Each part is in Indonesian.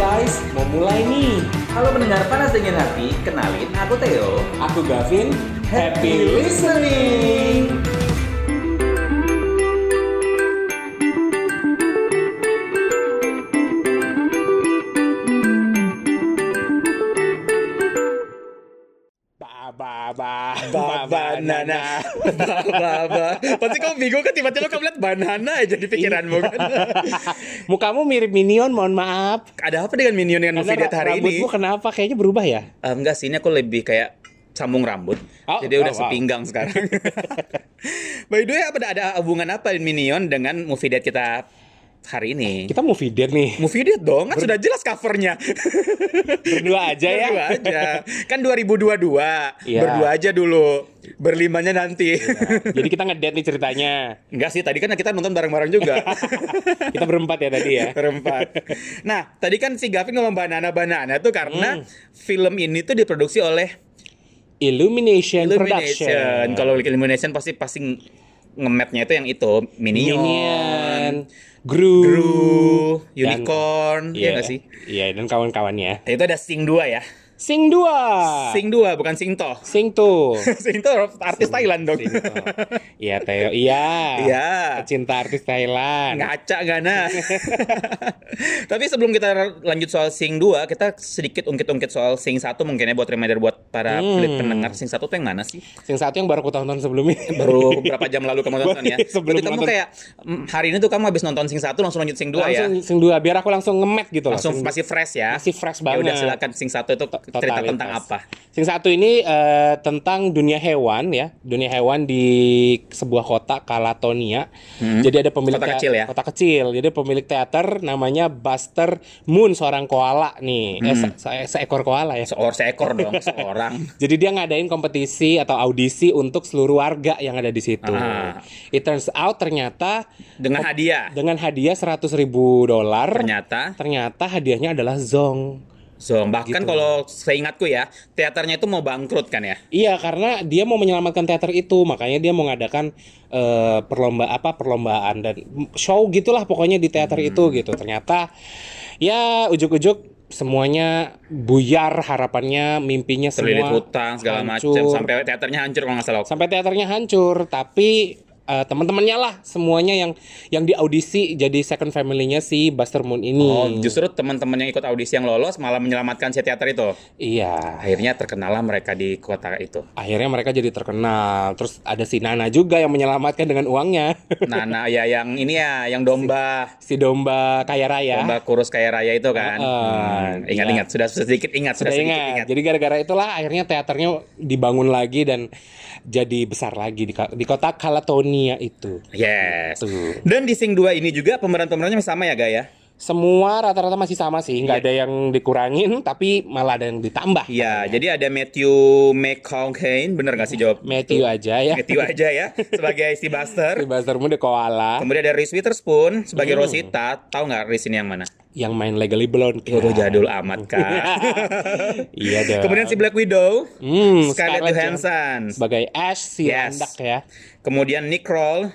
guys, mau mulai nih. Halo pendengar panas dingin hati, kenalin aku Theo. Aku Gavin, happy listening. Ba ba ba ba banana. Apa-apa. Pasti kamu bingung kan tiba-tiba kamu lihat banana aja di pikiranmu kan. Iya. Mukamu mirip Minion, mohon maaf. Ada apa dengan Minion dengan movie Karena Date hari ini? rambutmu kan? kenapa kayaknya berubah ya? Eh, enggak sih, ini aku lebih kayak sambung rambut. Oh, jadi udah oh, wow. sepinggang sekarang. By the way, apa ada hubungan apa Minion dengan movie date kita hari ini? Kita movie date nih. Movie date dong, kan sudah jelas covernya. Berdua aja ya. Berdua aja. Kan 2022. Iya. Berdua aja dulu. Berlimanya nanti. Jadi kita ngedate nih ceritanya. Enggak sih, tadi kan kita nonton bareng-bareng juga. Kita berempat ya tadi ya. berempat. Nah, tadi kan si Gavin ngomong banana-banana tuh Hmm. karena film ini tuh diproduksi oleh Illumination, Production. Illumination. Kalau Illumination pasti pasti nge-mapnya itu yang itu Minion, Minion, Gru, Gru, Dan- Unicorn, Iya ya nggak sih? Iya, dan kawan-kawannya. Itu ada Sing 2 ya. Sing 2. Sing 2 bukan Sing To. Sing tuh. Sing To artis Thailand dong. Ah. Sing tuh. Iya, Teo. Iya. Iya. Pecinta artis Thailand. Ngaca gana. Tapi sebelum kita lanjut soal Sing 2, kita sedikit ungkit-ungkit soal Sing 1 mungkin ya buat reminder buat para Hmm. pelit pendengar Sing 1 tuh yang mana sih? Sing satu yang baru aku tonton sebelumnya. Baru berapa jam lalu kamu tonton ya? Sebelum Berarti kamu nonton. kayak mm, hari ini tuh kamu habis nonton Sing 1 langsung lanjut Sing 2 ya? langsung Sing 2 biar aku langsung ngemet gitu loh. Langsung Sing- masih fresh ya? masih fresh Ya banget. udah silakan Sing 1 itu cerita Totalitas. tentang apa? Sing satu ini eh, tentang dunia hewan ya, dunia hewan di sebuah kota Kalatonia. Jadi ada pemilik Hmm. Kota tea- kecil ya? Kota kecil. Jadi pemilik teater namanya Buster Moon seorang koala nih, eh, Hmm. se- se- seekor koala ya. Seor seekor dong, seorang. Jadi dia ngadain kompetisi atau audisi untuk seluruh warga yang ada di situ. Ah. It turns out ternyata Dengan hadiah. dengan hadiah 100.000 ribu dolar, Ternyata ternyata hadiahnya adalah zong. So, Gitu. bahkan kalau seingatku ya, teaternya itu mau bangkrut kan ya? Iya, karena dia mau menyelamatkan teater itu, makanya dia mau mengadakan eh, perlomba apa perlombaan dan show gitulah pokoknya di teater Hmm. itu gitu. Ternyata ya ujuk-ujuk semuanya buyar harapannya, mimpinya terlilit semua hutang segala macam hancur. sampai teaternya hancur kalau nggak salah sampai teaternya hancur, tapi eh, teman-temannya lah semuanya yang yang diaudisi jadi second family-nya si Buster Moon ini. oh justru teman-teman yang ikut audisi yang lolos malah menyelamatkan si teater itu Iya. akhirnya terkenallah mereka di kota itu Akhirnya mereka jadi terkenal. Terus ada si Nana juga yang menyelamatkan dengan uangnya. Nana ya yang ini ya yang domba si domba kaya raya. domba kurus kayak raya itu Ah, kan ah, Hmm, ingat-ingat sudah sedikit ingat Sudah sudah, sedikit ingat. ingat Jadi gara-gara itulah akhirnya teaternya dibangun lagi dan jadi besar lagi di, ka- di kota Kalatonia itu. yes Tuh. dan di Sing 2 ini juga pemeran-pemerannya sama ya Gaya? Semua rata-rata masih sama sih, nggak ada yang dikurangin tapi malah ada yang ditambah. Nah, Iya, jadi ada Matthew McConaughey, bener gak sih jawab? Matthew aja ya. Matthew aja ya, sebagai si Buster. Si Buster Moon the koala Ah. Kemudian ada Reese Witherspoon sebagai Rosita. Tahu nggak Reese ini yang mana? yang main Legally Blonde. Ya udah jadul amat kak. iya dong. Kemudian si Black Widow, Hmm, Scarlett Scarlett Johansson, sebagai Ash si Yes. landak ya, kemudian Nick Kroll,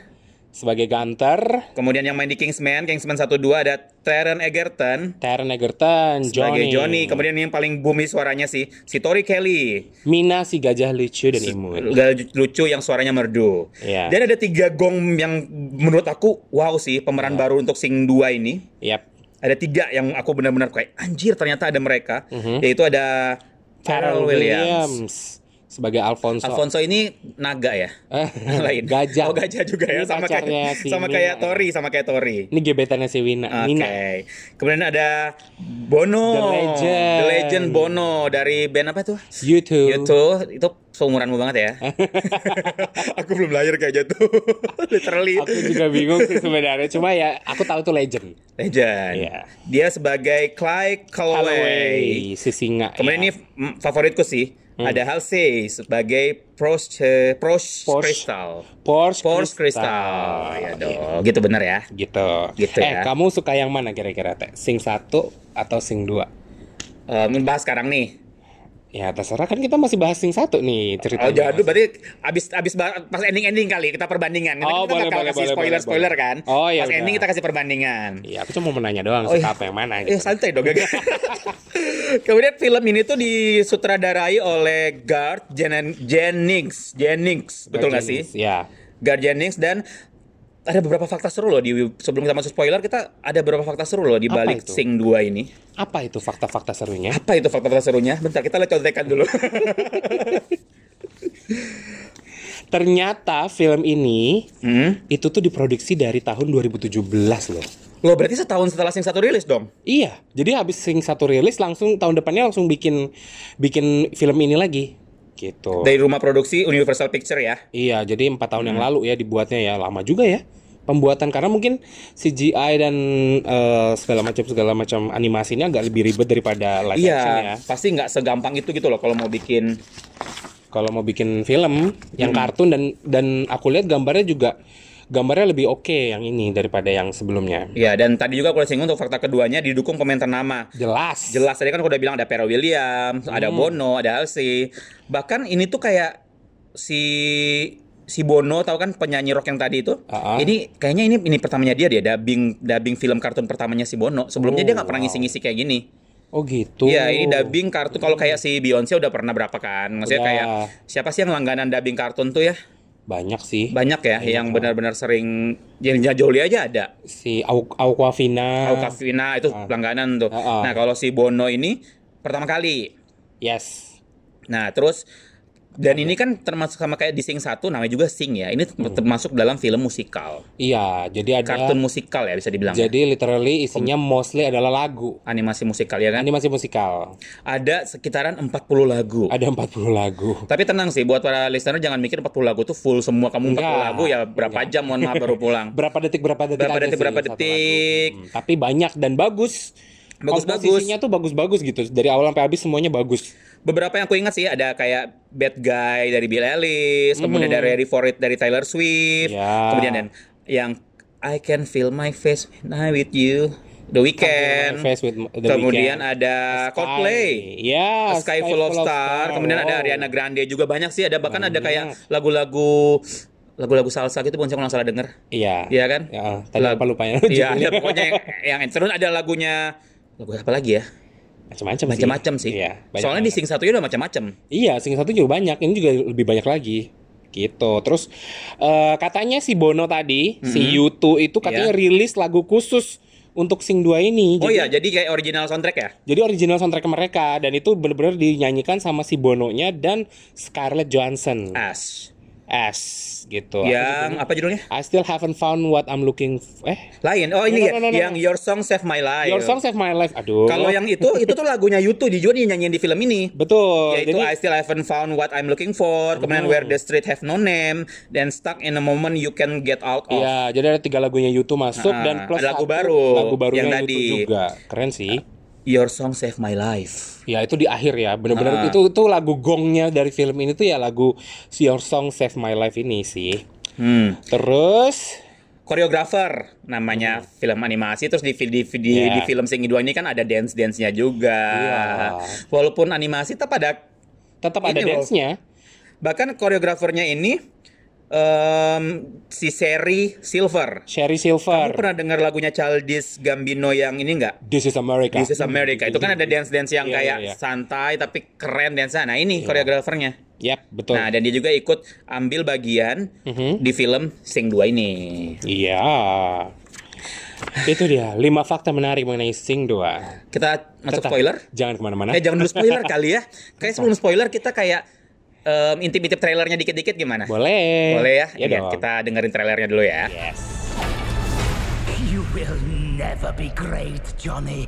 sebagai Gunter, kemudian yang main di Kingsman, Kingsman 1-2 ada Taron Egerton Taron Egerton, Johnny, sebagai Johnny. Kemudian yang paling bumi suaranya sih si Tori Kelly, Mina si gajah lucu dan imut. Gak lucu yang suaranya merdu. Iya. Dan ada tiga gong yang menurut aku wow sih pemeran baru untuk Sing 2 ini. Yap. Ada tiga yang aku benar-benar kayak anjir ternyata ada mereka. Mhm. Yaitu ada Pharrell Williams. sebagai Alfonso. Alfonso ini naga ya? Eh, Lain. Gajah. Oh, gajah juga ya Ini sama pacarnya kayak si sama Mina. ya. kayak Tori, sama kayak Tori. Ini gebetannya si Wina. Oke. Mina. Kemudian ada Bono. The Legend. The Legend Bono dari band apa tuh? YouTube. Itu itu seumuranmu banget ya. aku belum lahir kayak jatuh. Literally. Aku juga bingung sih sebenarnya. Cuma ya aku tahu itu legend. Legend. Iya. Dia sebagai Clyde Calloway. Halloween si singa. ya. Kemudian ini mm, favoritku sih. Hmm. Ada Halsey sebagai Prosh Prosh Porsche. Crystal. Porsche, Porsche Crystal. Iya. Crystal. Ya dong. Gitu bener ya. Gitu. Gitu eh, ya. kamu suka yang mana kira-kira, Teh? Sing 1 atau Sing 2? Eh, Ini bahas sekarang nih. Ya terserah kan kita masih bahas sing satu nih Oh, ceritanya. jadu berarti abis abis ba- pas ending ending kali kita perbandingan. Nanti Oh, kita boleh, bakal boleh, kasih boleh, spoiler spoiler boleh, kan. boleh. Oh, ya Pas udah. ending kita kasih perbandingan. Iya, aku cuma mau nanya doang Oh, iya. siapa yang mana Eh gitu. santai dong gak Kemudian film ini tuh disutradarai oleh Garth Jenen- Jennings Jennings betul gak sih? Ya. Garth Jennings dan ada beberapa fakta seru loh di sebelum kita masuk spoiler kita ada beberapa fakta seru loh di Apa balik itu? Sing 2 ini. Apa itu fakta-fakta serunya? Apa itu fakta-fakta serunya? Bentar kita lihat contekan dulu. Ternyata film ini hmm? itu tuh diproduksi dari tahun 2017 loh. Loh berarti setahun setelah Sing satu rilis dong? Iya, jadi habis sing satu rilis langsung tahun depannya langsung bikin bikin film ini lagi. Gitu. Dari rumah produksi Universal Picture ya. Iya, jadi empat tahun Hmm. yang lalu ya dibuatnya ya lama juga ya pembuatan karena mungkin CGI dan eh, segala macam segala macam animasinya agak lebih ribet daripada live action ya. Iya, pasti nggak segampang itu gitu loh kalau mau bikin Kalau mau bikin film yang Hmm. kartun dan dan aku lihat gambarnya juga gambarnya lebih oke yang ini daripada yang sebelumnya. Ya, dan tadi juga aku udah singgung untuk fakta keduanya didukung komentar nama. Jelas. Jelas tadi kan aku udah bilang ada Pero Williams, ada Hmm. Bono, ada Halsey. Bahkan ini tuh kayak si si Bono tahu kan penyanyi rock yang tadi itu? Ah, ah. Ini kayaknya ini ini pertamanya dia dia dubbing dubbing film kartun pertamanya si Bono. Sebelumnya Oh, dia nggak pernah wow. ngisi-ngisi kayak gini. Oh gitu. Iya, ini dubbing kartun kalau kayak si Beyonce udah pernah berapa kan? Maksudnya Udah. kayak siapa sih yang langganan dubbing kartun tuh ya? banyak sih. Banyak ya Banyak yang banget. benar-benar sering yang Jolie aja ada. si Au Aquafina. Tahu Kavina itu langganan tuh. Ah, ah. Nah, kalau si Bono ini pertama kali. Yes. Nah, terus dan ini kan termasuk sama kayak di Sing 1 namanya juga Sing ya. Ini termasuk dalam film musikal. Iya, jadi ada Kartun musikal ya bisa dibilang. jadi literally isinya mostly adalah lagu. animasi musikal ya kan. Animasi musikal. Ada sekitaran 40 lagu. Ada 40 lagu. Tapi tenang sih buat para listener jangan mikir 40 lagu tuh full semua kamu 40 Enggak. lagu ya berapa jam mohon maaf baru pulang. Berapa detik berapa detik Berapa aja detik, sih berapa satu detik. lagu. Hmm, tapi banyak dan bagus. Bagus-bagus. Komposisinya tuh bagus-bagus gitu. Dari awal sampai habis semuanya bagus. Beberapa yang aku ingat sih ada kayak Bad Guy dari Bill Ellis, kemudian dari Ready for It dari Taylor Swift, Ya. kemudian dan yang I Can Feel My Face When I'm With You, The Weeknd, Face with the kemudian Weeknd. ada Sky. Coldplay, Ya, A Sky, Full of Star, kemudian Oh. ada Ariana Grande juga banyak sih ada bahkan ada Banyak. kayak lagu-lagu lagu-lagu salsa gitu bukan sih kalau nggak salah denger, Iya. iya kan? Ya, tadi Lagu- apa lupanya? Iya, Judulnya. ada pokoknya yang, yang terus ada lagunya lagu apa lagi ya? macam-macam sih. Macam-macam sih. Iya, banyak Soalnya di banget. Sing satunya udah macam-macam. Iya, sing satu juga banyak. Ini juga lebih banyak lagi. Gitu. Terus eh, katanya si Bono tadi, si Yutu itu katanya rilis lagu khusus untuk sing 2 ini. Iya. Oh Jadi- iya, jadi kayak original soundtrack ya? Jadi original soundtrack mereka dan itu bener-bener dinyanyikan sama si Bononya dan Scarlett Johansson. As. As gitu. yang apa judulnya? I still haven't found what I'm looking f- eh Lain. Oh No, ini ya, no, no, no, yang no. Your Song Save My Life. Your song save my life. Aduh. Kalau yang itu, itu tuh lagunya YouTube di juga dinyanyiin di film ini. betul. Yaitu Oh, Jadi Ya, Oh. I still haven't found what I'm looking for, kemudian Where the Street Have No Name, dan Stuck in a Moment You Can Get Out of. Iya, jadi ada tiga lagunya YouTube masuk Ah, dan plus ada satu lagu baru lagu barunya U2 yang tadi. juga. Keren sih. Your Song Save My Life. Ya itu di akhir ya. Bener-bener Ah. itu itu lagu gongnya dari film ini tuh ya lagu Your Song Save My Life ini sih. Hmm. Terus Koreografer Hmm. namanya film animasi terus di di di, Iya. di film Sing 2 ini kan ada dance-dance-nya juga. Iya. Walaupun animasi tetap ada tetap ada Ini loh. dance-nya. Bahkan koreografernya ini em, si Sherry Silver. Sherry Silver. Kamu pernah dengar lagunya Childish Gambino yang ini nggak? This is America. This is America. Itu kan ada dance-dance yang Iya, kayak iya, iya. santai tapi keren dance Nah, ini koreografernya. Yap, betul. Nah, dan dia juga ikut ambil bagian Mhm. di film Sing 2 ini. Iya. Itu dia, 5 fakta menarik mengenai Sing 2. Kita masuk Tetap, spoiler? Jangan kemana-mana. Eh, jangan dulu spoiler kali ya. Kayak sebelum spoiler kita kayak em, intip-intip trailernya dikit-dikit gimana? Boleh. Boleh ya? Iya Iya, dong. kita dengerin trailernya dulu ya. Yes. You will never be great, Johnny.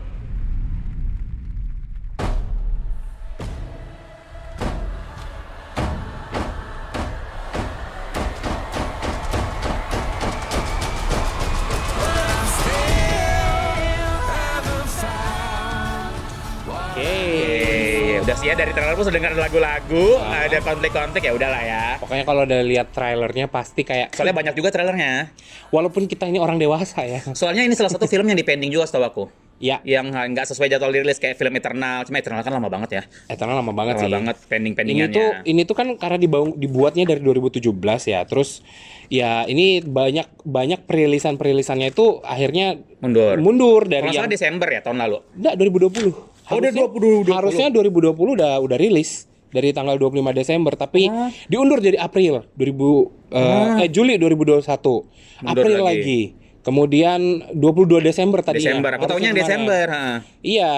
Oke. Oke, udah sih ya dari trailer pun sudah dengar lagu-lagu, Ah. ada konflik-konflik ya udahlah ya. Pokoknya kalau udah lihat trailernya pasti kayak Soalnya banyak juga trailernya. walaupun kita ini orang dewasa ya. Soalnya ini salah satu film yang dipending juga setahu aku. Ya, yang nggak sesuai jadwal dirilis kayak film Eternal. Cuma Eternal kan lama banget ya. Eternal Eh, lama banget Lama sih. banget Ini pending-pendingannya. tuh ini tuh kan karena dibangun dibuatnya dari 2017 ya. Terus ya ini banyak banyak perilisan-perilisannya itu akhirnya mundur. mundur dari Kalau nggak yang salah Desember ya tahun lalu. Nggak, 2020. Oh, udah 2020. Harusnya 2020 udah udah rilis dari tanggal 25 Desember, tapi diundur jadi April 2000 eh, eh Juli 2021. April lagi. lagi. Kemudian 22 Desember tadi. ya. Desember. Aku tahunya yang Desember. ha. Iya.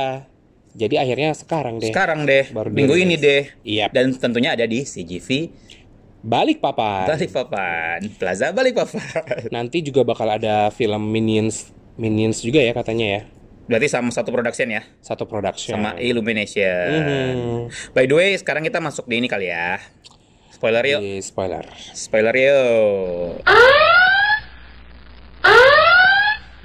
Jadi akhirnya sekarang deh. Sekarang deh, Baru Iya. minggu dirilis. ini deh. Yap. Dan tentunya ada di CGV Balik papan. Balikpapan, Plaza Balikpapan. Nanti juga bakal ada film Minions Minions juga ya katanya ya. Berarti sama satu production ya, Satu production. sama Illumination. Iya. Mhm. By the way, sekarang kita masuk di ini kali ya. Spoiler yuk, Di spoiler. spoiler yuk.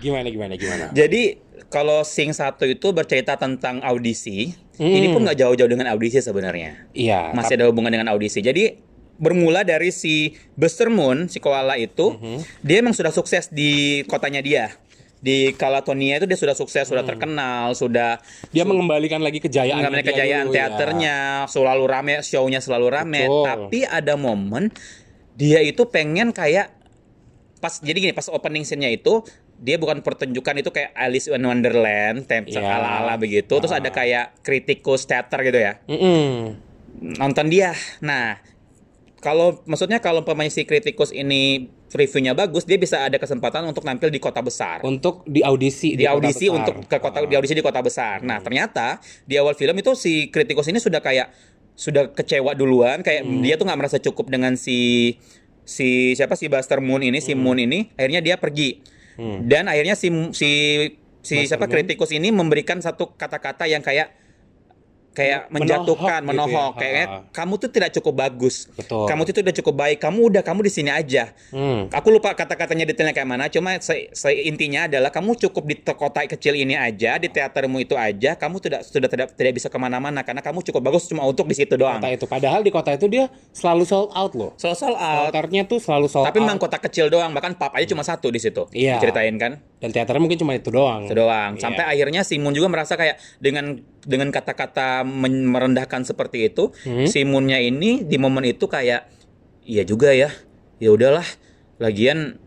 Gimana gimana gimana? Jadi kalau Sing satu itu bercerita tentang audisi, ini pun nggak jauh-jauh dengan audisi sebenarnya. Iya. Masih ada hubungan dengan audisi. Jadi bermula dari si Buster Moon, si koala itu, dia emang sudah sukses di kotanya dia. Di Kalatonia itu dia sudah sukses, sudah terkenal, sudah dia mengembalikan lagi kejayaan ya. nggak punya iya, kejayaan teaternya selalu rame show-nya selalu rame Betul. tapi ada momen dia itu pengen kayak pas jadi gini pas opening scene-nya itu dia bukan pertunjukan itu kayak Alice in Wonderland tem Iya. Ah. ala-ala begitu terus ada kayak kritikus teater gitu ya nonton dia nah kalau maksudnya kalau pemain si kritikus ini reviewnya bagus dia bisa ada kesempatan untuk nampil di kota besar untuk di audisi di kota audisi besar. Hmm. untuk ke kota di audisi di kota besar. Nah, ternyata di awal film itu si kritikus ini sudah kayak sudah kecewa duluan kayak Hmm. dia tuh nggak merasa cukup dengan si si siapa si Buster Moon ini, Hmm. si Moon ini akhirnya dia pergi. Dan akhirnya si si si Buster siapa Moon? kritikus ini memberikan satu kata-kata yang kayak kayak Men- menohok menjatuhkan, gitu ya. menohok, Ha, kayaknya ha. kamu tuh tidak cukup bagus. Betul. Kamu tuh tidak cukup baik. Kamu udah kamu di sini aja. Hmm. Aku lupa kata-katanya detailnya kayak mana, cuma se- se- intinya adalah kamu cukup di te- kota kecil ini aja, di teatermu itu aja, kamu tidak sudah tidak tidak bisa kemana-mana karena kamu cukup bagus cuma untuk di situ doang. kota itu padahal di kota itu dia selalu sold out loh Soal soal out, teaternya tuh selalu sold tapi memang out kota kecil doang, bahkan pap aja cuma satu di situ. Iya. Diceritain kan? dan teaternya mungkin cuma itu doang Itu doang. Iya. Sampai akhirnya Simon juga merasa kayak dengan dengan kata-kata men- merendahkan seperti itu, Hmm. Simonnya ini di momen itu kayak iya juga ya. Ya udahlah. Lagian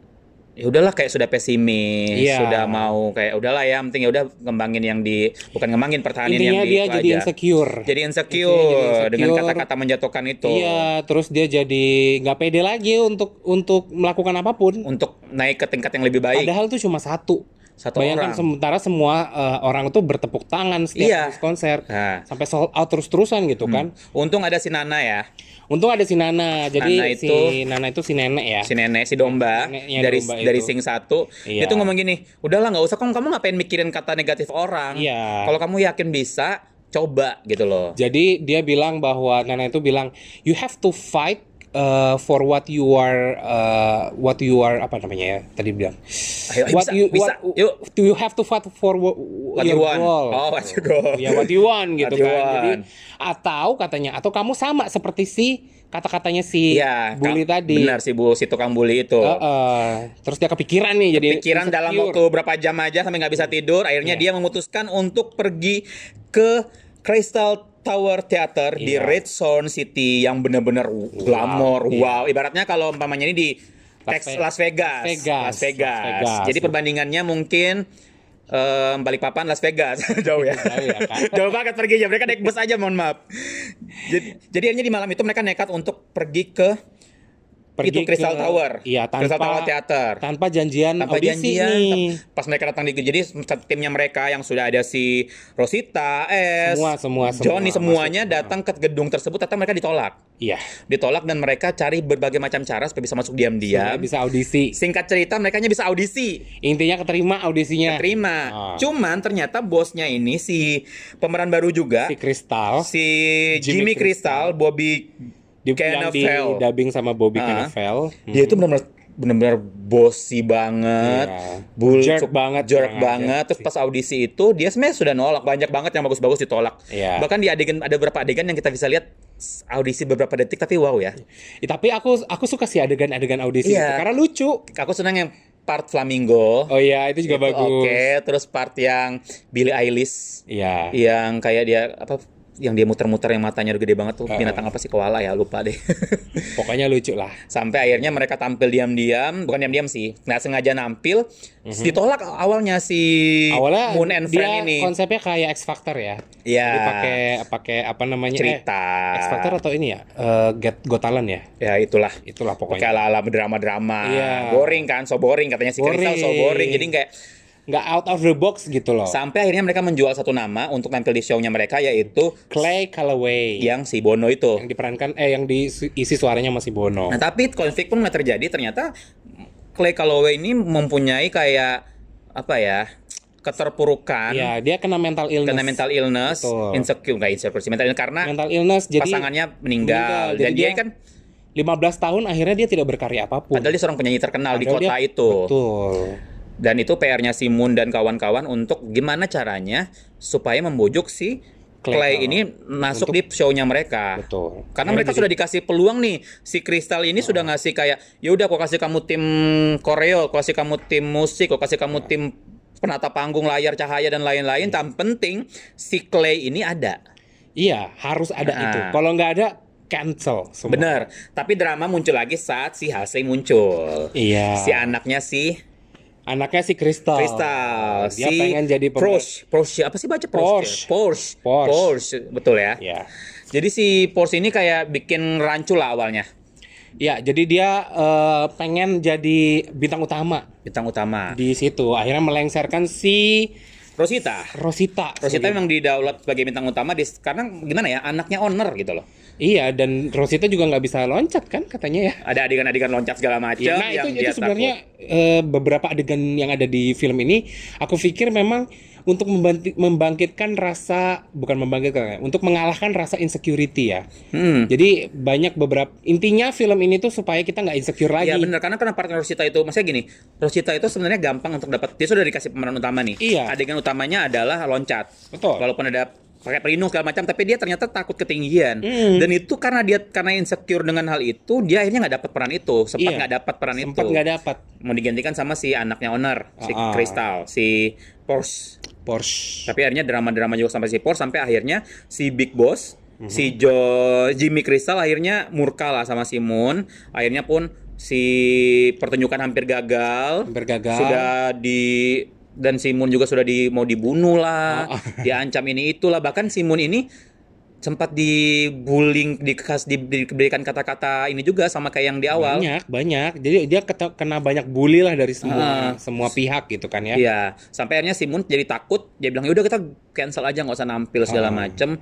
ya udahlah kayak sudah pesimis, Iya. sudah mau kayak udahlah ya, yang penting ya udah ngembangin yang di bukan ngembangin pertahanin intinya yang di dia itu jadi gitu aja. insecure Jadi insecure, Intinya jadi insecure. dengan kata-kata menjatuhkan itu. iya terus dia jadi nggak pede lagi untuk untuk melakukan apapun Untuk naik ke tingkat yang lebih baik. padahal tuh cuma satu Satu bayangkan orang. sementara semua eh, orang tuh bertepuk tangan setiap Iya. habis konser Nah. Hmm. sampai sold out terus-terusan gitu kan Untung ada si Nana ya, Untung ada si Nana, jadi Nana si itu- Nana itu si nenek ya. si nenek si domba Neneknya dari domba dari itu. sing satu Iya. dia tuh ngomong gini udahlah nggak usah kamu kamu ngapain mikirin kata negatif orang Iya. kalau kamu yakin bisa coba gitu loh Jadi dia bilang bahwa Nana itu bilang you have to fight uh, for what you are uh, what you are apa namanya ya tadi bilang. Ayo, ayo, bisa, bisa. Yuk. do you have to fight for what, What you want. Oh, what you goal. Ya what you want gitu What you kan. Jadi want. atau katanya atau kamu sama seperti si kata-katanya si Iya, Bully Kang- tadi. Benar si Bu si tukang bully itu. Heeh. terus dia kepikiran nih jadi Pikiran dalam insecure. Hmm. Iya. waktu berapa jam aja sampai nggak bisa tidur, akhirnya dia memutuskan untuk pergi ke Crystal Tower Theater di Iya. Redstone City yang benar-benar glamor. Iya. Wow, ibaratnya kalau umpamanya ini di Las Tex- Ve- Las, Vegas. Las Vegas. Las Vegas. Las Vegas. Jadi perbandingannya mungkin em, Balikpapan Las Vegas jauh ya. Jauh ya, Kak. Jauh banget perginya. Mereka naik bus aja, mohon maaf. Jadi, jadi akhirnya di malam itu mereka nekat untuk pergi ke itu Crystal Tower. Iya, tanpa Crystal Tower Theater. Tanpa janjian tanpa audisi nih. janjian tam- Nah, pas mereka datang di jadi timnya mereka yang sudah ada si Rosita S Semua, semua, semua Johnny masuk. semuanya datang ke gedung tersebut ternyata mereka ditolak Iya. ditolak dan mereka cari berbagai macam cara supaya bisa masuk diam-diam Sebenarnya bisa audisi. singkat cerita mereka bisa audisi Intinya keterima audisinya. terima Ah. cuman ternyata bosnya ini si pemeran baru juga Si Kristal si Jimmy Jimmy, Crystal Bobby di, yang di Cannavale dubbing sama Bobby Ah. Cannavale. Hmm. dia itu benar-benar benar-benar bossy banget, Iya. bul- Jerk banget, jangan jerk banget. jerk Terus pas audisi itu dia sebenarnya sudah nolak banyak banget yang bagus-bagus ditolak. Iya. Bahkan di adegan ada beberapa adegan yang kita bisa lihat s- audisi beberapa detik tapi wow ya. Eh, tapi aku aku suka sih adegan-adegan audisi Iya. itu karena lucu. Aku senang yang part Flamingo. Oh iya, itu juga Itu bagus. Oke, terus part yang Billie Eilish Iya. yang kayak dia apa yang dia muter-muter yang matanya udah gede banget tuh Heeh. binatang apa sih koala ya lupa deh Pokoknya lucu lah. sampai akhirnya mereka tampil diam-diam bukan diam-diam sih nggak sengaja nampil ditolak awalnya si Mhm. Awalnya Moon and dia Friend ini konsepnya kayak X Factor ya. Iya. Dipakai pakai apa namanya? cerita Eh, X Factor atau ini ya? Eh, Get Got Talent ya. ya itulah Itulah pakai pokoknya. ala-ala drama-drama Iya. boring kan so boring katanya si Crystal so Boring. boring jadi kayak Nggak out of the box gitu low. sampai akhirnya mereka menjual satu nama untuk tampil di show-nya mereka yaitu Clay Calloway. yang si Bono itu Yang diperankan eh yang diisi suaranya masih Bono. Nah, tapi konflik pun nggak terjadi. Ternyata Clay Calloway ini mempunyai kayak apa ya? keterpurukan Iya, dia kena mental illness. karena kan? mental illness, Betul. insecure, nggak insecure sih, mental illness karena Mental illness jadi pasangannya meninggal. meninggal. Dan Jadi dia, dia kan 15 tahun akhirnya dia tidak berkarya apapun. padahal dia seorang penyanyi terkenal di Padahal kota dia- itu. Nah, Betul. Dan itu PR-nya si Moon dan kawan-kawan untuk gimana caranya supaya membujuk si Clay Clay, ini masuk di Untuk- show-nya mereka. Betul. Karena mereka sudah dikasih peluang nih. Si Kristal ini sudah ngasih kayak ya udah aku kasih kamu tim koreo, aku kasih kamu tim musik, aku kasih kamu tim penata panggung, layar cahaya dan lain-lain. Tam penting si Clay ini ada. Iya, harus ada Nah. itu. Kalau nggak ada, cancel semua. Bener. Tapi drama muncul lagi saat si Halsey muncul. Iya. Si anaknya si Anaknya si Kristal. Kristal, Dia si pengen jadi pemain- Porsche, Porsche apa sih baca Porsche. Porsche? Porsche, Porsche. Porsche. betul ya. Iya. Jadi si Porsche ini kayak bikin rancu lah awalnya. Iya, jadi dia eh, pengen jadi bintang utama Bintang utama. di situ. Akhirnya melengsarkan si Rosita. Rosita. Rosita memang didaulat sebagai bintang utama di sekarang gimana ya anaknya owner gitu loh. Iya, dan Rosita juga nggak bisa loncat kan katanya ya. Ada adegan-adegan loncat segala macam Iya, nah itu, itu sebenarnya eh, beberapa adegan yang ada di film ini aku pikir memang untuk membanti- membangkitkan rasa bukan membangkitkan ya, untuk mengalahkan rasa insecurity ya. Hmm. Jadi banyak beberapa intinya film ini tuh supaya kita nggak insecure lagi. Iya benar karena karena partner Rosita itu maksudnya gini, Rosita itu sebenarnya gampang untuk dapat dia sudah dikasih pemeran utama nih. Iya. Adegan utamanya adalah loncat. Betul. Walaupun ada pakai pelindung segala macam tapi dia ternyata takut ketinggian. Hmm. Dan itu karena dia karena insecure dengan hal itu dia akhirnya nggak dapat peran itu, sempat Iya. nggak dapat peran Sempat itu. nggak dapat Mau digantikan sama si anaknya owner, si Ah. Kristal, si Porsche. Porsche. Tapi akhirnya drama-drama juga sampai si Porsche sampai akhirnya si Big Boss, si Jo Jimmy Crystal akhirnya murka lah sama si Moon. Akhirnya pun si pertunjukan hampir gagal. Hampir gagal. Sudah di dan si Moon juga sudah di mau dibunuh lah. Ah, ah. Diancam ini itulah bahkan si Moon ini sempat dibullying dikas di- diberikan kata-kata ini juga sama kayak yang di awal. Banyak, banyak. Jadi dia keta- kena banyak bully lah dari Ah. semua semua pihak gitu kan ya. Iya, sampai akhirnya si Moon jadi takut, dia bilang yaudah kita cancel aja nggak usah nampil Ah. segala macem.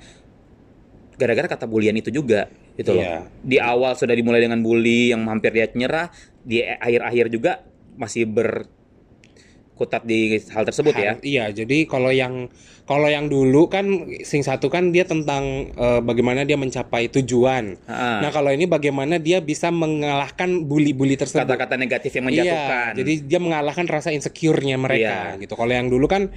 Gara-gara kata bulian itu juga, gitu Iya. loh. Di awal sudah dimulai dengan bully yang hampir dia nyerah, di akhir-akhir juga masih berkutat di hal tersebut ya. Har- Iya, jadi kalau yang kalau yang dulu kan sing satu kan dia tentang eh, bagaimana dia mencapai tujuan. Ah. Nah, kalau ini bagaimana dia bisa mengalahkan bully-bully tersebut. Kata-kata negatif yang menjatuhkan. Iya, jadi dia mengalahkan rasa insecure-nya mereka Iya. gitu. Kalau yang dulu kan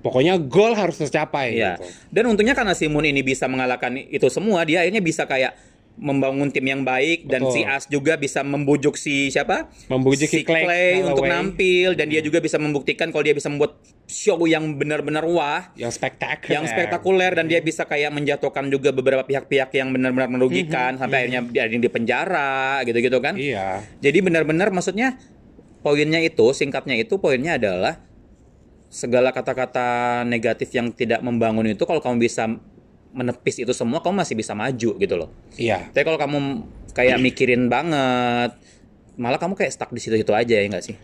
pokoknya goal harus tercapai Iya. gitu. Dan untungnya karena si Moon ini bisa mengalahkan itu semua, dia akhirnya bisa kayak membangun tim yang baik dan Betul. si As juga bisa membujuk si siapa? Membujuk si si Clay, Clay untuk Calloway. nampil dan dia juga bisa membuktikan kalau dia bisa membuat show yang benar-benar wah, Yang spektakuler. yang spektakuler dan dia bisa kayak menjatuhkan juga beberapa pihak-pihak yang benar-benar merugikan sampai akhirnya dia ada yang di penjara gitu-gitu kan. Iya. Jadi benar-benar maksudnya poinnya itu singkatnya itu poinnya adalah segala kata-kata negatif yang tidak membangun itu kalau kamu bisa menepis itu semua kamu masih bisa maju gitu loh. Iya. Tapi kalau kamu kayak mikirin banget malah kamu kayak stuck di situ-situ aja ya nggak sih?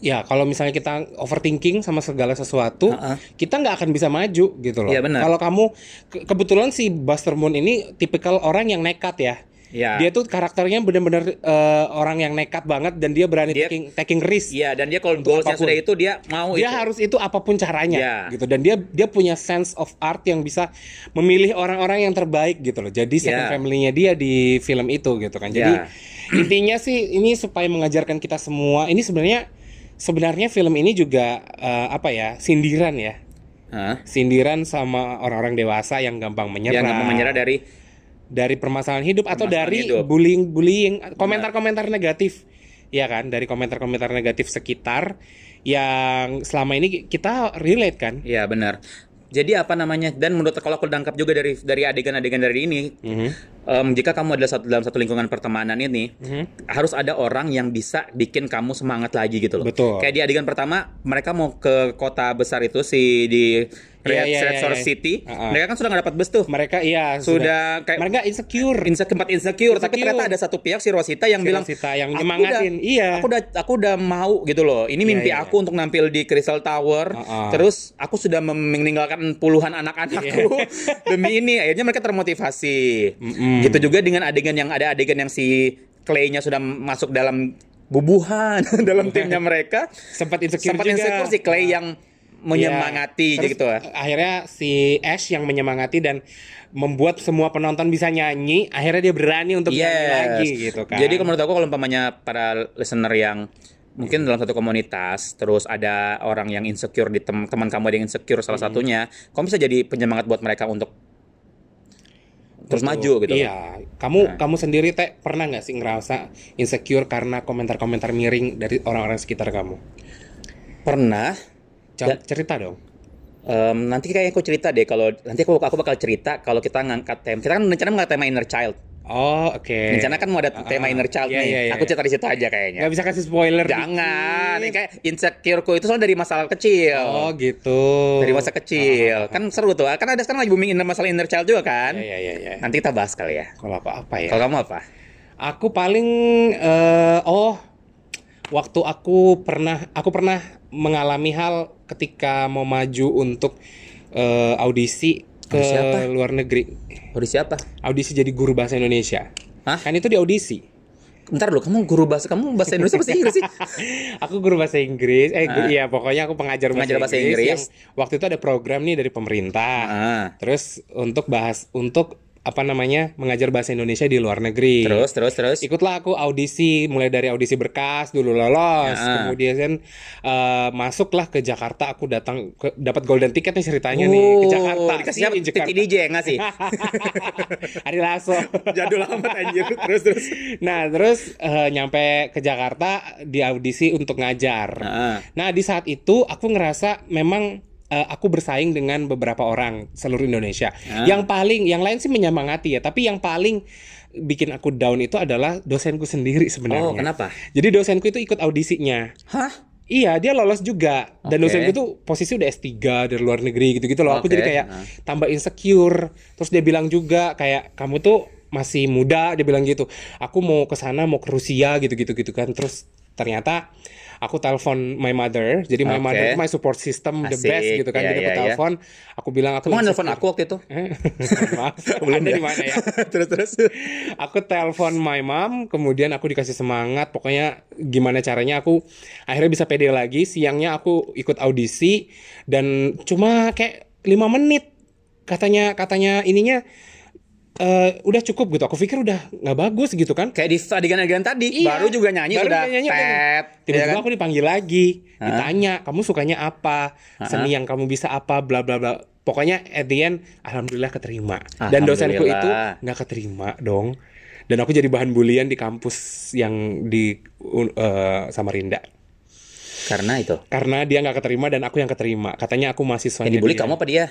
Ya, kalau misalnya kita overthinking sama segala sesuatu, Ha-ha. kita nggak akan bisa maju gitu loh. Iya, benar. Kalau kamu ke- kebetulan si Buster Moon ini tipikal orang yang nekat ya. Iya. Dia tuh karakternya benar-benar eh, orang yang nekat banget dan dia berani Dia- taking taking risk. Iya dan dia kalau goalsnya apapun. sudah itu dia mau Dia Oh, itu. harus itu apapun caranya Iya. gitu dan dia dia punya sense of art yang bisa memilih orang-orang yang terbaik gitu loh. Jadi second Iya. family-nya dia di film itu gitu kan. Jadi Iya. intinya sih ini supaya mengajarkan kita semua ini sebenarnya sebenarnya film ini juga eh, apa ya sindiran ya Hah? sindiran sama orang-orang dewasa yang gampang menyerah, Yang nggak mau menyerah dari dari permasalahan hidup atau Permasalahan dari hidup. bullying bullying komentar-komentar negatif ya kan dari komentar-komentar negatif sekitar yang selama ini kita relate kan Iya benar. Jadi apa namanya? Dan menurut kalau aku tangkap juga dari dari adegan-adegan dari ini, em, jika kamu adalah satu dalam satu lingkungan pertemanan ini, Mhm. harus ada orang yang bisa bikin kamu semangat lagi gitu loh. Betul. Kayak di adegan pertama, mereka mau ke kota besar itu si di Iya, Red, iya, Red iya, Shore iya. City, Ah, ah. mereka kan sudah nggak dapat bus tuh. mereka iya Sudah kayak- mereka insecure Inse tempat insecure, tapi Insecure. ternyata ada satu pihak si Rosita yang Si bilang Rosita yang "Aku nyemangatin." udah- Iya. Aku udah aku udah mau gitu loh. Ini mimpi iya, aku untuk nampil di Crystal Tower. Uh-uh. Terus aku sudah mem- meninggalkan puluhan anak-anakku demi ini. Akhirnya mereka termotivasi. Iya. Mm-mm. Gitu juga dengan adegan yang ada adegan yang si Clay-nya sudah masuk dalam bubuhan dalam timnya mereka. sempat Iya. insecure Sempat juga insecure si Clay yang menyemangati Iya. Terus, gitu lah. Akhirnya si Ash yang menyemangati dan membuat semua penonton bisa nyanyi, akhirnya dia berani untuk nyanyi Yes. lagi gitu kan. Jadi kalau menurut aku kalau umpamanya para listener yang mungkin dalam satu komunitas terus ada orang yang insecure di tem- teman kamu ada yang insecure salah satunya, kamu bisa jadi penyemangat buat mereka untuk terus maju gitu. loh. Iya, kamu kamu sendiri teh pernah nggak sih ngerasa insecure karena komentar-komentar miring dari orang-orang sekitar kamu? Pernah Coba Da- cerita dong. em, nanti kayak aku cerita deh kalau nanti aku aku bakal cerita kalau kita ngangkat tema kita kan rencana ngangkat tema inner child. Oh, oke. Rencana kan mau ada Ah, tema ah. inner child Iya, nih. iya, iya. Aku cerita di situ aja kayaknya. nggak bisa kasih spoiler. Jangan, dikit. ini kayak insecureku itu soal dari masalah kecil. Oh, gitu. dari masa kecil kan seru tuh kan ada sekarang lagi booming inner masalah inner child juga kan Iya, iya, iya, iya. nanti kita bahas kali ya Kalau apa apa ya? kalau kamu apa Aku paling eh, oh waktu aku pernah aku pernah mengalami hal ketika mau maju untuk eh, audisi ke Audisi apa? luar negeri. Audisi siapa Audisi jadi guru bahasa Indonesia. Hah? Kan itu di audisi. ntar lu kamu guru bahasa kamu bahasa Indonesia apa sih Inggris sih aku guru bahasa Inggris. Eh Ah. iya pokoknya aku pengajar bahasa, Pengajar bahasa Inggris. Inggris. yang waktu itu ada program nih dari pemerintah. Ah. Terus untuk bahas untuk apa namanya? mengajar bahasa Indonesia di luar negeri. terus terus terus ikutlah aku audisi mulai dari audisi berkas dulu lolos Ya. kemudian eh, masuklah ke Jakarta aku datang ke- dapat golden ticket nih ceritanya nih ke Oh, Jakarta dikasih Nih, apa? Titi DJ nggak sih? Ari Lasso Jadul amat anjir. Terus terus. nah terus eh, nyampe ke Jakarta di audisi untuk ngajar Ah. nah di saat itu aku ngerasa memang eh, aku bersaing dengan beberapa orang seluruh Indonesia. Ah. Yang paling, yang lain sih menyemangati ya, tapi yang paling bikin aku down itu adalah dosenku sendiri sebenarnya. Oh, kenapa? Jadi dosenku itu ikut audisinya. Hah? Iya, dia lolos juga. Dan Oke. dosenku tuh posisi udah S3 dari luar negeri gitu-gitu loh. Aku Oke, jadi kayak nah. tambah insecure. Terus dia bilang juga kayak kamu tuh masih muda, dia bilang gitu. Aku mau ke sana, mau ke Rusia gitu-gitu gitu kan. Terus ternyata aku telepon my mother. Jadi my Oke. mother itu my support system the Asik. best gitu kan. Iya, jadi aku iya, iya. telepon, aku bilang aku Kamu nggak insecure. nelfon aku waktu itu? Eh, Maaf, Belum Anda ya? di mana ya? terus terus. aku telepon my mom, kemudian aku dikasih semangat, pokoknya gimana caranya aku akhirnya bisa pede lagi. Siangnya aku ikut audisi dan cuma kayak lima menit katanya katanya ininya eh, udah cukup gitu. Aku pikir udah nggak bagus gitu kan. Kayak di adegan-adegan tadi, Iya. baru juga Iya. nyanyi baru sudah juga nyanyi, udah. tet. Tiba-tiba ya kan? aku dipanggil lagi, ditanya, "Kamu sukanya apa? Seni yang kamu bisa apa?" bla bla bla. Pokoknya at the end alhamdulillah keterima. Dan dosenku itu Alhamdulillah. nggak keterima dong. Dan aku jadi bahan bulian di kampus yang di un- eh, Samarinda. Karena itu. Karena dia nggak keterima dan aku yang keterima. Katanya aku mahasiswanya Yang dibully dia. kamu apa dia?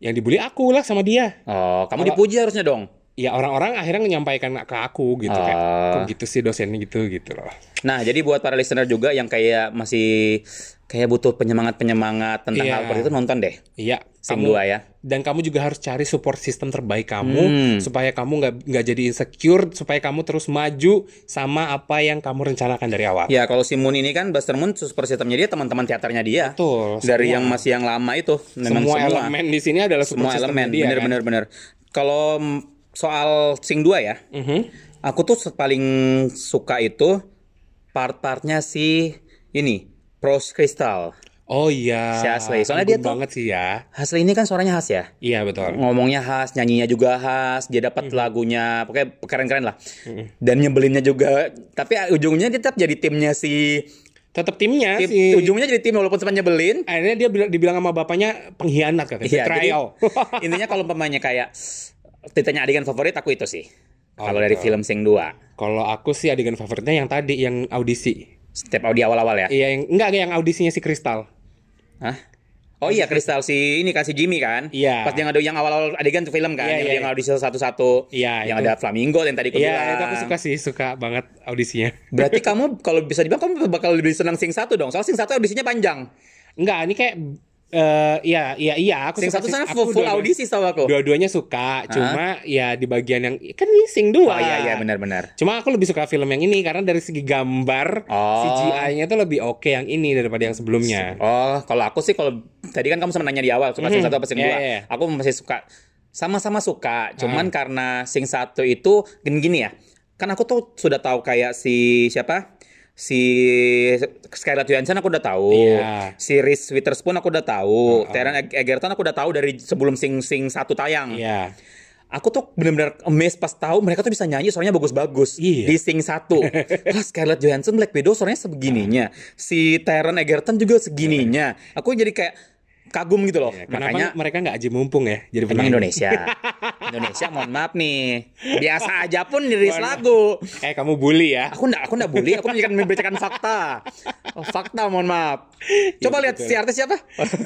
Yang dibully aku lah sama dia. Oh, kamu Kalau- dipuji harusnya dong. Ya orang-orang akhirnya menyampaikan ke aku gitu kayak, Ah. "Kok gitu sih dosennya gitu gitu loh. Nah, jadi buat para listener juga yang kayak masih kayak butuh penyemangat-penyemangat tentang Iya. hal seperti itu nonton deh. Iya, Sing kamu- dua ya. dan kamu juga harus cari support system terbaik kamu Hmm. supaya kamu nggak nggak jadi insecure supaya kamu terus maju sama apa yang kamu rencanakan dari awal. Ya, kalau si Moon ini kan Buster Moon super sistemnya dia teman-teman teaternya dia. Betul, Dari semua. yang masih yang lama itu Semua, memang semua. elemen di sini adalah support Semua system elemen dia. kan? bener-bener bener. Kalau mm, soal Sing 2 ya. Mhm. Aku tuh se- paling suka itu part-partnya si ini Rose Crystal. Oh iya. Si Ashley. Soalnya dia Anggun tuh- banget sih ya. Hasil ini kan suaranya khas ya. Iya betul. ngomongnya khas, nyanyinya juga khas, dia dapat Mm-hmm. lagunya, pokoknya keren-keren lah. Dan nyebelinnya juga, tapi ujungnya dia tetap jadi timnya si, Tetap timnya tim- Iya sih. ujungnya jadi tim walaupun sempat nyebelin. Akhirnya dia bilang dibilang sama bapaknya pengkhianat katanya. Iya, jadi Betrayal. intinya kalau pemainnya kayak ditanya adegan favorit aku itu sih. Oh, kalau dari betul. film Sing 2. Kalau aku sih adegan favoritnya yang tadi yang audisi. Step out di awal-awal ya. Iya yang enggak yang audisinya si Kristal. Hah? Oh iya Kristal si ini kan si Jimmy kan? Iya. Pas dia ngadu yang awal-awal adegan tuh film kan, Iya, yang iya, dia iya. ngadu satu-satu. Iya, Yang itu. ada flamingo yang tadi aku bilang. Iya, itu aku suka sih, suka banget audisinya. Berarti kamu kalau bisa dibilang kamu bakal lebih senang Sing 1 dong. Soalnya Sing 1 audisinya panjang. Oh, Enggak, ini kayak eh iya iya iya aku Sing suka sih. 1 sana Aku full, full dua-dua- audisi setahu aku. Dua-duanya suka, cuma ya di bagian yang kan ini sing dua. Oh iya iya benar-benar. Cuma aku lebih suka film yang ini karena dari segi gambar Oh. CGI-nya tuh lebih oke yang ini daripada yang sebelumnya. Oh, kalau aku sih kalau tadi kan kamu sempat nanya di awal suka Sing Mhm. 1 apa Sing 2. Iya, iya. Hmm. Aku masih suka sama-sama suka, cuman karena Sing 1 itu gini, gini ya. Kan aku tuh sudah tahu kayak si siapa? Si Scarlett Johansson aku udah tahu. Iya. Si Reese Witherspoon aku udah tahu. Taron Eg- Egerton aku udah tahu dari sebelum Sing Sing 1 tayang. Iya. Aku tuh benar-benar amazed pas tahu mereka tuh bisa nyanyi soalnya bagus-bagus Iya. di Sing 1. Wah, Scarlett Johansson Black Widow soalnya sebegininya. Si Taron Egerton juga segininya. Aku jadi kayak kagum gitu loh. Makanya Iya, Kenapa mereka nggak aji mumpung ya? Jadi emang penyanyi? Indonesia. Indonesia mohon maaf nih. Biasa aja pun dirilis lagu. Eh kamu bully ya? Aku enggak aku enggak bully, aku memberikan memberitakan fakta. Oh, fakta mohon maaf. Coba Iya, lihat betul. si artis siapa?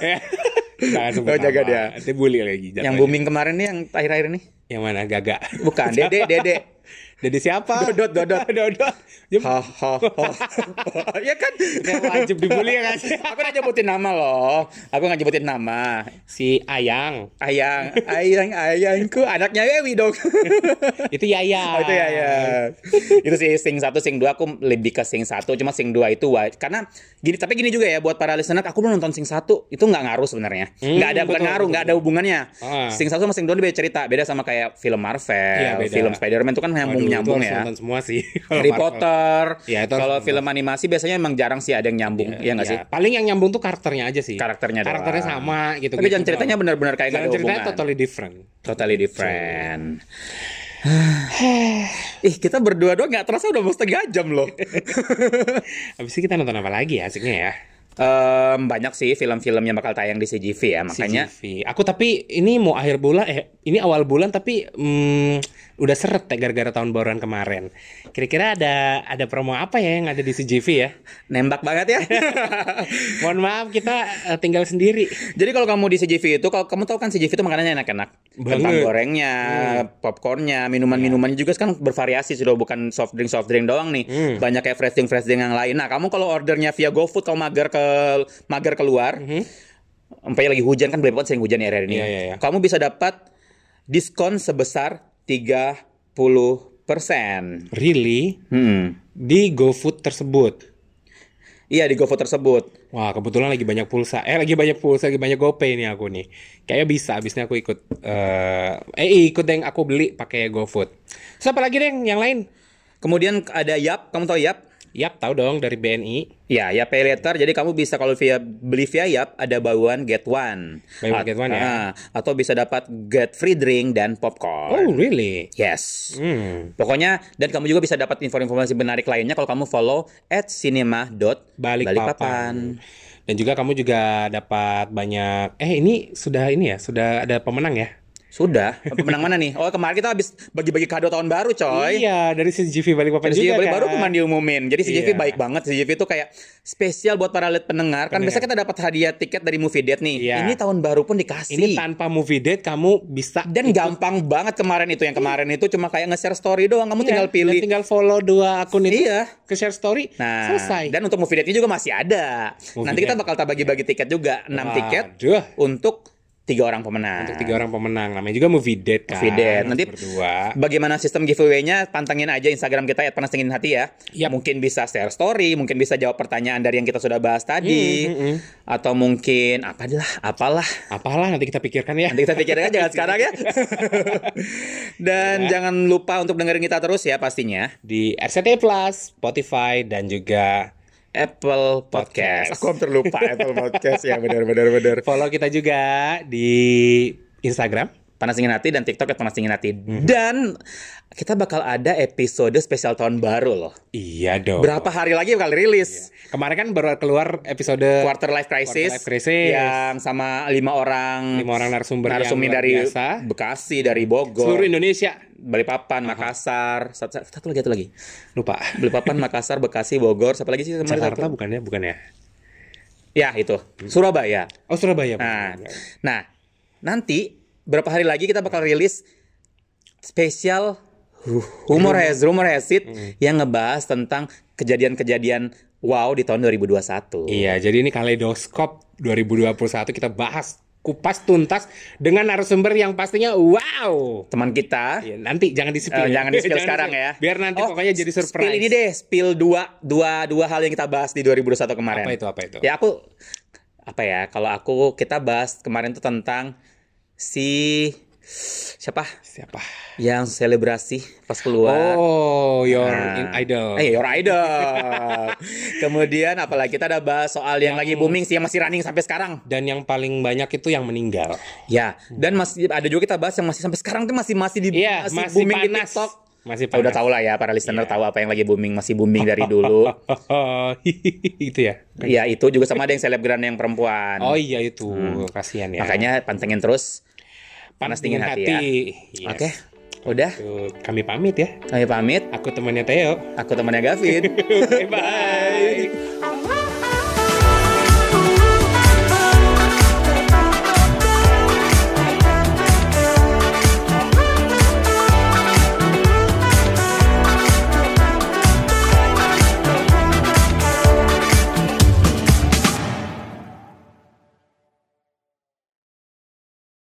Eh, Jangan sebut Oh, jaga nama. dia. Nanti bully lagi. Yang jatuhnya. booming kemarin nih yang akhir-akhir ini. Yang mana? Gaga. Bukan, Dede, Dede. Jadi siapa? Dodot, Dodot. Dodot. Ya, Ha ha ha. ya kan? kayak wajib dibully ya kan? Aku nggak nyebutin nama loh. Aku nggak nyebutin nama. Si Ayang. Ayang, ayang, ayangku, anaknya Wewi dong. Itu Yaya. oh, itu ya ya. itu sih sing satu, sing dua. Aku lebih ke sing satu. Cuma sing dua itu wa- karena gini. Tapi gini juga ya buat para listener. Aku belum nonton sing satu. Itu nggak ngaruh sebenarnya. Hmm, Nggak ada bukan betul, ngaruh. betul. Nggak ada hubungannya. Ah. Sing satu sama sing dua ini beda cerita. Beda sama kayak film Iya, Marvel, beda. film Spider-Man itu kan Waduh, nyambung nyambung itu harus ya. nonton semua sih. Kalau Harry Marvel. Potter. Iya, itu harus kalau nonton. film animasi biasanya emang jarang sih ada yang nyambung, ya nggak Iya, sih? Paling yang nyambung tuh karakternya aja sih. Karakternya doang. Karakternya sama gitu. Tapi jangan ceritanya benar-benar kayak nggak Jalan ada ceritanya hubungan. Totally, totally different. different. Ih, kita berdua doang nggak terasa udah mau setengah jam loh. Habis itu kita nonton apa lagi ya asiknya ya? Em, banyak sih film-film yang bakal tayang di CGV ya, makanya CGV. Aku tapi ini mau akhir bulan eh ini awal bulan tapi mm, udah seret ya gara-gara tahun baruan kemarin. Kira-kira ada ada promo apa ya yang ada di CGV ya? nembak banget ya. Mohon maaf kita eh, tinggal sendiri. Jadi kalau kamu di CGV itu, kalau kamu tahu kan CGV itu makanannya enak-enak. Kentang Banget. Hmm. Iya. gorengnya, popcornnya, minuman-minumannya juga kan bervariasi sudah bukan soft drink soft drink doang nih. Hmm. Banyak kayak fresh drink fresh drink yang lain. Nah, kamu kalau ordernya via GoFood kalau mager ke mager keluar, Empanya lagi hujan kan Blackpot sering hujan ya hari ini. Hmm. Iya, iya, iya. Kamu bisa dapat diskon sebesar 30%. Really Hmm. di GoFood tersebut. Iya di GoFood tersebut. Wah, kebetulan lagi banyak pulsa. Eh, lagi banyak pulsa, lagi banyak GoPay nih aku nih. Kayaknya bisa abisnya aku ikut eh eh ikut yang aku beli pakai GoFood. Terus apa lagi Deng? Yang lain? Kemudian ada Yap, kamu tahu Yap? Yap, tahu dong dari BNI. Ya, ya pay later. Jadi kamu bisa kalau via beli via Yap ada buy one get one. Buy one, get one, ya. Ah, atau bisa dapat get free drink Oh, dan popcorn. really? Yes. Hmm. Pokoknya dan kamu juga bisa dapat info-informasi menarik lainnya kalau kamu follow at cinema balik, papan. Dan juga kamu juga dapat banyak eh ini sudah ini ya, sudah ada pemenang ya? Sudah. Pemenang mana nih? Oh kemarin kita habis bagi-bagi kado tahun baru coy. Iya, dari CGV balik papan Dari juga. CJV baru kan? kemarin diumumin. Jadi CJV Iya. baik banget. CJV itu kayak spesial buat para lihat pendengar. Kan biasanya kita dapat hadiah tiket dari movie date nih. Iya. Ini tahun baru pun dikasih. Ini tanpa movie date kamu bisa dan gampang banget kemarin itu yang kemarin itu cuma kayak nge-share story doang Iya, kamu tinggal dan pilih tinggal follow dua akun itu. Iya. Ke share story. nah selesai. dan untuk movie date-nya juga masih ada Movie nanti kita date. bakal tak bagi-bagi tiket juga 6 Waduh. tiket untuk tiga orang pemenang Untuk tiga orang pemenang namanya juga movie date kan. Movie date. Nanti- berdua. Bagaimana sistem giveaway-nya? Pantengin aja Instagram kita ya, panas dingin hati ya. Yap. Mungkin bisa share story, mungkin bisa jawab pertanyaan dari yang kita sudah bahas Hmm, tadi, hmm, hmm. atau mungkin apalah, apalah. Apalah nanti kita pikirkan ya. Nanti kita pikirkan jangan sekarang ya. Dan Iya. jangan lupa untuk dengerin kita terus ya pastinya. Di RCTI Plus, Spotify dan juga Apple Podcast. Aku hampir lupa Apple Podcast ya benar benar benar. follow kita juga di Instagram Panas Dingin Hati dan TikTok at Panas Dingin Hati. Mhm. Dan kita bakal ada episode spesial tahun baru loh. Iya dong. Berapa hari lagi bakal rilis? Kemarin kan baru keluar episode Quarter Life Crisis, Iya. Quarter Life Crisis. yang sama lima orang lima orang narasumber yang narasumber luar dari biasa. Bekasi, dari Bogor, seluruh Indonesia. Balikpapan, Makassar, satu, satu lagi satu lagi. Lupa. Balikpapan, Makassar, Bekasi, Bogor, siapa lagi sih kemarin? Jakarta satu? bukan ya, bukan ya? Ya itu Surabaya. Oh Surabaya. Nah, bukan. nah nanti berapa hari lagi kita bakal rilis spesial hu- humor has rumor has it Hmm. yang ngebahas tentang kejadian-kejadian wow di tahun 2021. Iya, jadi ini Kaleidoskop 2021 kita bahas kupas tuntas dengan narasumber yang pastinya wow. Teman kita Iya, nanti jangan di Eh, jangan di spill sekarang ya. Biar nanti Oh, pokoknya jadi surprise. Spill ini deh, spill dua dua dua hal yang kita bahas di 2021 kemarin. Apa itu apa itu? Ya aku apa ya? Kalau aku kita bahas kemarin tuh tentang si siapa Siapa? yang selebrasi pas keluar. Oh, your Nah. in- idol. Eh, your idol. Kemudian apalagi kita ada bahas soal yang, lagi booming sih yang masih running sampai sekarang. Dan yang paling banyak itu yang meninggal. Ya, dan masih ada juga kita bahas yang masih sampai sekarang tuh masih masih di Iya, masih booming di panas. Iya. TikTok. Masih Ah, panas. Udah tau lah ya para listener tahu apa yang lagi booming masih booming dari dulu. itu ya. Iya itu juga sama ada yang selebgram yang perempuan. Oh iya itu, kasihan ya. Hmm. Makanya pantengin terus. panas dingin hati ya. Yes. Oke, udah Tuh, Kami pamit ya. kami pamit. Aku temannya Theo. Aku temannya Gavin. Bye.